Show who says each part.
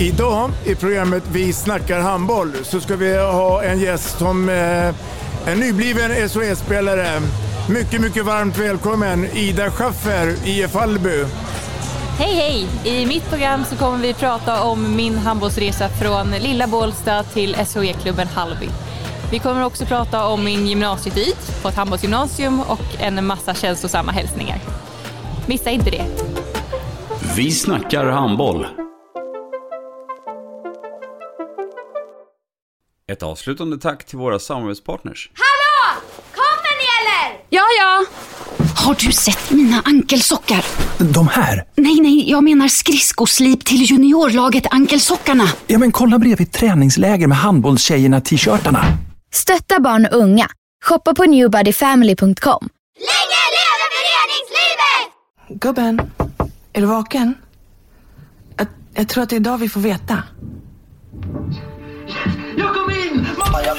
Speaker 1: Idag i programmet Vi snackar handboll så ska vi ha en gäst som eh, en nybliven SHL-spelare. Mycket, mycket varmt välkommen Ida Schaffer, IF Hallby.
Speaker 2: Hej hej! I mitt program så kommer vi prata om min handbollsresa från lilla Bålsta till SHE-klubben Hallby. Vi kommer också prata om min gymnasietid på ett handbollsgymnasium och en massa känslosamma hälsningar. Missa inte det!
Speaker 3: Vi snackar handboll. Ett avslutande tack till våra samarbetspartners.
Speaker 4: Hallå! Kommer ni eller?
Speaker 5: Ja, ja. Har du sett mina ankelsockar?
Speaker 6: De här?
Speaker 5: Nej, nej, jag menar skridskoslip till juniorlaget Ankelsockarna.
Speaker 6: Ja, men kolla bredvid träningsläger med handbollstjejerna-t-shirtarna.
Speaker 7: Stötta barn och unga. Shoppa på newbodyfamily.com.
Speaker 4: Länge leve föreningslivet!
Speaker 8: Gubben, är du vaken? Jag, jag tror att det är idag vi får veta.
Speaker 9: Jag kom in! Mamma, jag